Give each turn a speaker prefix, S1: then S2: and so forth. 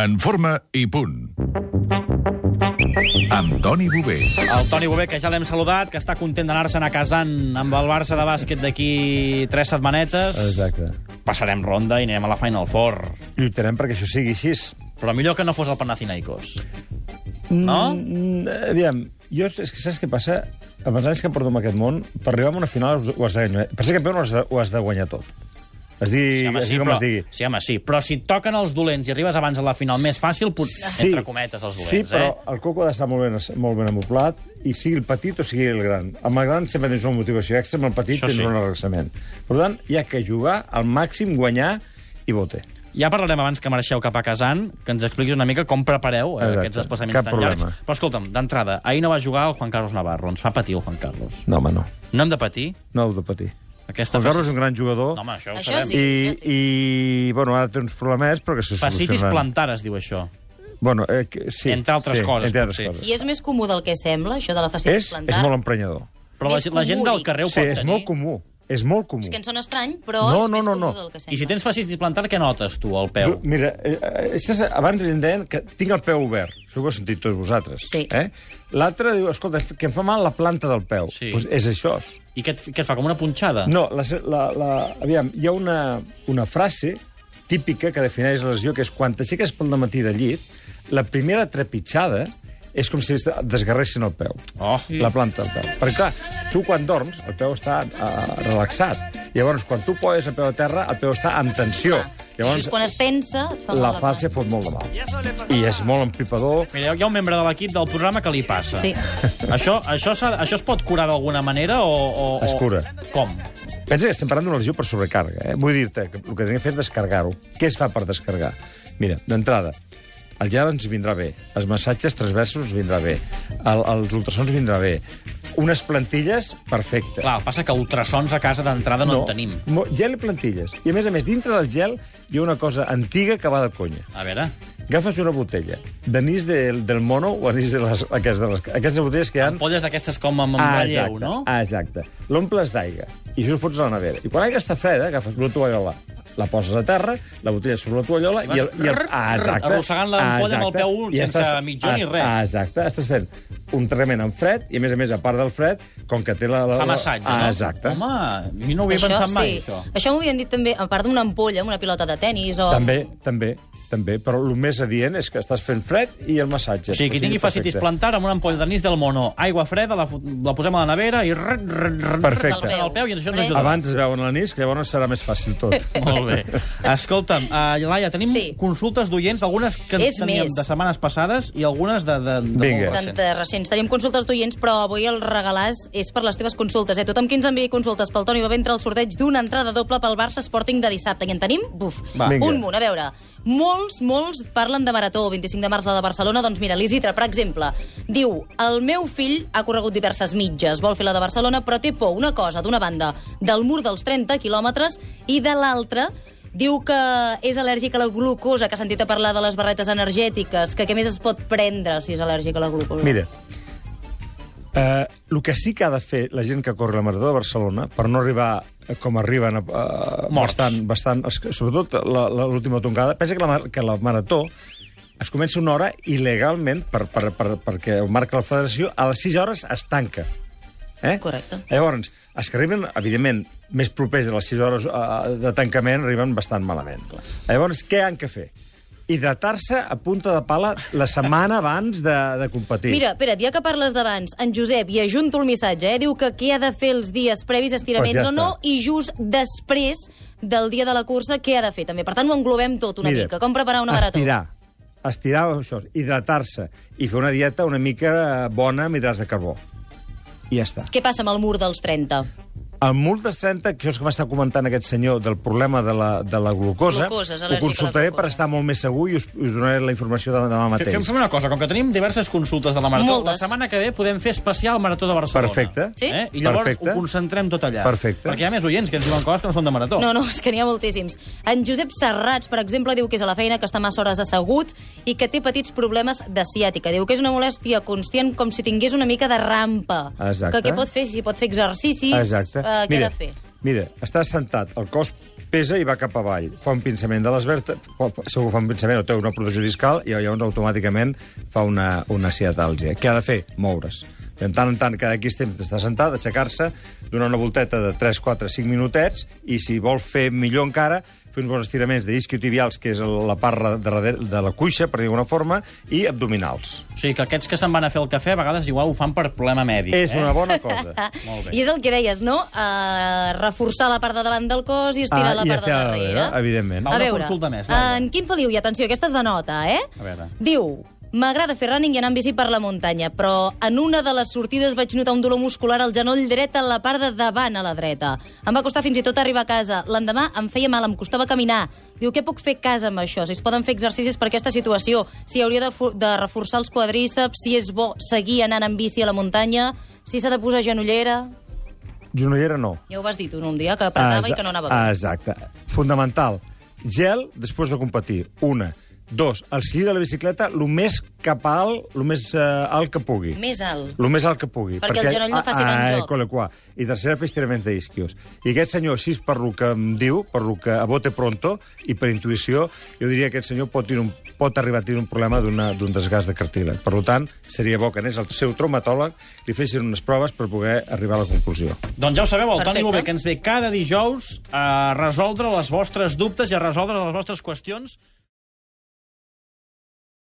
S1: En forma i punt. Amb Toni Bové.
S2: El Toni Bové, que ja l'hem saludat, que està content d'anar-se'n a casant amb el Barça de bàsquet d'aquí tres setmanetes.
S3: Exacte.
S2: Passarem ronda i anirem a la Final Four.
S3: Lluitarem perquè això sigui així.
S2: Però millor que no fos el Panathinaikos.
S3: No? Mm, aviam, jo, és que saps què passa? Amb els anys que porto en aquest món, per arribar a una final ho has de guanyar. Per ser campió no ho has de, ho has de guanyar tot. Es digui, es digui com
S2: però,
S3: es digui.
S2: sí, home, sí. Però si et toquen els dolents i arribes abans a la final més fàcil, pot... entre cometes, els dolents,
S3: sí, però
S2: eh?
S3: el Coco ha d'estar molt ben, molt ben amoplat, i sigui el petit o sigui el gran. Amb el gran sempre tens una motivació extra, amb el petit
S2: Això
S3: tens
S2: sí.
S3: un relaxament. Per tant, hi ha que jugar al màxim, guanyar i voter.
S2: Ja parlarem abans que marxeu cap a Casan, que ens expliquis una mica com prepareu eh,
S3: Exacte.
S2: aquests desplaçaments
S3: Cap
S2: tan
S3: problema.
S2: llargs. Però escolta'm, d'entrada, ahir no va jugar el Juan Carlos Navarro. Ens fa patir el Juan Carlos.
S3: No, home, no.
S2: No hem de patir?
S3: No heu de patir.
S2: Aquesta
S3: El Carlos és un gran jugador.
S2: No, home, això ho
S4: Això
S2: sabem.
S4: sí.
S3: I,
S4: jo
S3: i, bueno, ara té uns problemes, però que se
S2: Facitis
S3: solucionaran.
S2: plantar, es diu això.
S3: Bueno, eh, que- sí,
S2: Entre altres
S3: sí,
S2: coses,
S3: Entre altres
S2: potser.
S3: coses.
S4: I és més comú del que sembla, això de la facitis
S3: És,
S4: plantar?
S3: és molt emprenyador.
S2: Però la,
S4: Més
S2: gent- la gent del
S4: comú,
S2: carrer ho
S3: Sí,
S2: pot
S3: és
S2: tenir.
S3: molt comú. És molt comú.
S4: És que en sona estrany, però
S3: No, no,
S4: és més
S3: no,
S4: comú
S3: no.
S4: del que sembla.
S2: I si tens facitis plantar, què notes tu al peu?
S3: Jo, Mira, eh, eh, això és, abans em deien que tinc el peu obert. Això ho heu sentit tots vosaltres.
S4: Sí.
S3: Eh? L'altre diu, escolta, que em fa mal la planta del peu.
S2: Sí.
S3: Pues és això.
S2: I què et, què et fa, com una punxada?
S3: No, la, la, la, aviam, hi ha una, una frase típica que defineix la lesió, que és quan t'aixeques pel matí del llit, la primera trepitjada és com si es desgarressin el peu.
S2: Oh.
S3: la planta del peu. Perquè, clar, tu quan dorms, el peu està eh, relaxat. Llavors, quan tu poses el peu a terra, el peu està en tensió.
S4: Llavors,
S2: Doncs
S3: Llavors,
S4: Ah. quan es tensa, et fa mal
S3: la
S4: la
S3: fase
S4: planta.
S3: fot molt de mal. I és molt empipador.
S2: Mira, hi ha un membre de l'equip del programa que li passa.
S4: Sí.
S2: Això, això, s'ha- això es pot curar d'alguna manera o, o... o-
S3: Es cura.
S2: Com?
S3: Pensa que estem parlant d'una lesió per sobrecàrrega. Eh? Vull dir-te que el que tenim que fer és descarregar-ho. Què es fa per descarregar? Mira, d'entrada, el gel ens vindrà bé, els massatges transversos ens vindrà bé, el, els ultrasons vindrà bé, unes plantilles, perfecte.
S2: Clar, passa que ultrasons a casa d'entrada no, en tenim.
S3: mo- Gel i plantilles. I, a més a més, dintre del gel hi ha una cosa antiga que va de conya.
S2: A veure,
S3: Agafes una botella d'anís del, del mono o anís de les, aquestes, de les, aquestes botelles que hi ha...
S2: polles d'aquestes com amb, amb relleu,
S3: exacte,
S2: no?
S3: Ah, exacte. L'omples d'aigua i això ho fots a la nevera. I quan l'aigua està freda, agafes una tovallola, la poses a terra, la botella sobre la tovallola i el... I el ah, exacte.
S2: Arrossegant l'ampolla amb el peu
S3: Exacte. I
S2: sense mitjó ni
S3: ah,
S2: res.
S3: Ah, exacte. Estàs fent un tractament amb fred i, a més a més, a part del fred, com que té la... la
S2: Fa massatge,
S3: ah,
S2: no?
S3: Exacte.
S2: Home, jo no ho havia pensat mai,
S4: sí.
S2: això.
S4: Això m'ho havien dit també, a part d'una ampolla, amb una pilota de tennis o...
S3: També, també, també, però el més adient és que estàs fent fred i el
S2: O
S3: massatge.
S2: sigui, qui tingui facitis
S3: perfecte.
S2: plantar amb una ampolla d'anís del mono, aigua freda, la, fot- la posem a la nevera i... Rr, rr, rr,
S3: Perfecte.
S2: Del peu, i això ens
S4: Fred.
S2: ajudarà.
S3: Abans es veuen l'anís, que llavors serà més fàcil tot.
S2: Molt bé. Escolta'm, uh, Laia, tenim sí.
S4: Sí.
S2: consultes d'oients, algunes que
S4: És
S2: teníem
S4: més.
S2: de setmanes passades i algunes de, de, de
S3: Vinga.
S2: molt
S4: Tant
S2: recents.
S4: de recents. Tenim consultes d'oients, però avui el regalàs és per les teves consultes. Eh? Tothom qui ens enviï consultes pel Toni Bové entra al sorteig d'una entrada doble pel Barça Sporting de dissabte. I en tenim, buf,
S3: Va. Vinga.
S4: un munt. A veure, molts, molts parlen de marató. 25 de març la de Barcelona, doncs mira, l'Isidre, per exemple, diu el meu fill ha corregut diverses mitges, vol fer la de Barcelona, però té por una cosa, d'una banda, del mur dels 30 quilòmetres i de l'altra Diu que és al·lèrgic a la glucosa, que ha sentit a parlar de les barretes energètiques, que què més es pot prendre si és al·lèrgic a la glucosa?
S3: Mira, eh, el que sí que ha de fer la gent que corre la Marató de Barcelona, per no arribar eh, com arriben eh,
S2: Morts.
S3: bastant, bastant, es- sobretot la- la- l'última toncada, pensa que la, mar- que la Marató es comença una hora i legalment, per, per, per, perquè ho marca la federació, a les 6 hores es tanca. Eh?
S4: Correcte.
S3: Llavors, els que arriben, evidentment, més propers a les 6 hores eh, de tancament, arriben bastant malament. Llavors, què han que fer? Hidratar-se a punta de pala la setmana abans de, de competir.
S4: Mira, espera't, ja que parles d'abans, en Josep, i ajunto el missatge, eh, diu que què ha de fer els dies previs, estiraments
S3: Pues ja
S4: o no,
S3: està.
S4: i just després del dia de la cursa, què ha de fer també. Per tant, ho englobem tot una mica. Com preparar una marató?
S3: Estirar. Estirar, això, hidratar-se i fer una dieta una mica eh, bona amb hidrats de carbó. I ja està.
S4: Què passa amb el mur dels 30?
S3: El mul dels 30, que és que m'està comentant aquest senyor del problema de la, de la glucosa,
S4: Glucosa, és
S3: ho
S4: al·lèrgic a la
S3: consultaré
S4: glucosa.
S3: per estar molt més segur i us, us donaré la informació demà, demà
S2: Fem,
S3: mateix.
S2: fem- fem una cosa, com que tenim diverses consultes de la Marató,
S4: Moltes.
S2: la setmana que ve podem fer especial Marató de Barcelona.
S3: Perfecte.
S4: Sí?
S2: Eh? I llavors
S3: Perfecte.
S2: ho concentrem tot allà.
S3: Perfecte.
S2: Perquè hi ha més oients que ens diuen coses que no són de
S3: Oh.
S2: Marató.
S4: No, no, és que n'hi ha moltíssims. En Josep Serrats, per exemple, diu que és a la feina, que està massa hores assegut i que té petits problemes de ciàtica. Diu que és una molèstia constant com si tingués una mica de rampa.
S3: Exacte.
S4: Que eh, què pot fer, si pot fer exercicis,
S3: Exacte.
S4: eh, què ha de fer?
S3: Mira, està sentat, el cos pesa i va cap avall. Fa un pinçament de les vèrtebres, segur que fa un pinçament o té una protecció discal i llavors automàticament fa una, una ciatàlgia. Què ha de fer? Moure's. De tant en tant, cada quins temps està sentat, aixecar-se, donar una volteta de 3, 4, 5 minutets i si vol fer millor encara, fer uns bons estiraments de isquiotibials, que és el- la part de, darrere- de la cuixa, per dir alguna forma, i abdominals.
S2: O sigui, que aquests que se'n van a fer el cafè, a vegades igual ho fan per problema mèdic.
S3: És
S2: eh?
S3: una bona cosa.
S2: Molt bé.
S4: I és el que deies, no? Uh, reforçar la part de davant del cos i estirar
S3: Ah,
S4: la
S3: i
S4: part de
S3: estirar la
S4: darrere.
S3: darrere, evidentment.
S2: Va,
S4: A
S2: una
S4: veure,
S2: consulta més, Laia.
S4: en Quim Feliu, i atenció, aquesta és de nota, eh?
S2: A veure.
S4: Diu, m'agrada fer running i anar amb bici per la muntanya, però en una de les sortides vaig notar un dolor muscular al genoll dret a la part de davant a la dreta. Em va costar fins i tot arribar a casa. L'endemà em feia mal, em costava caminar. Diu, què puc fer a casa amb això? Si es poden fer exercicis per aquesta situació? Si hauria de, fu- de reforçar els quadríceps? Si és bo seguir anant amb bici a la muntanya? Si s'ha de posar genollera?
S3: Genollera no.
S4: Ja ho vas dir tu no, un dia, que apretava i que no anava bé.
S3: Ah, Exacte. Fundamental. Gel després de competir. Una. Dos, el sillí de la bicicleta, el més cap a alt, el més eh, alt que pugui.
S4: Més alt.
S3: El més alt que pugui.
S4: Perquè el genoll no faci
S3: ah,
S4: tant
S3: ah,
S4: joc.
S3: Cole qua. I tercera, fer estiraments d'isquios. I aquest senyor, així per lo que em diu, per lo que a bote pronto i per intuïció, jo diria que aquest senyor pot, tenir un, pot arribar a tenir un problema d'una- d'un desgast de cartílag. Per lo tant, seria bo que anés al seu traumatòleg, li fessin unes proves per poder arribar a la conclusió.
S2: Doncs ja ho sabeu, el Toni
S4: Perfecte.
S2: Bové, que ens ve cada dijous a resoldre les vostres dubtes i a resoldre les vostres qüestions